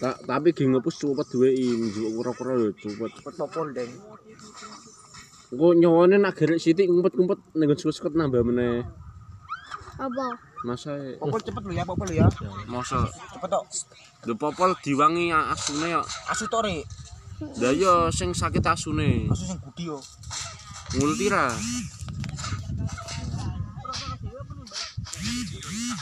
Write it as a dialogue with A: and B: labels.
A: Ta- tapi geng ngepus copot duwe i njuk kura-kura yo copot.
B: Potopol deng.
A: Engko nyawane nak gerek sithik ngumpet-ngumpet ning suket nambah meneh.
C: Apa?
A: Masa e?
B: Popol cepet lu ya, popol lu ya.
D: Masa
B: Cepet tok.
D: lho popol diwangi asune yo.
B: Asu tok Ri.
D: Lah yo sing sakit asune.
B: Asu sing gudi yo.
D: Ngulti ra.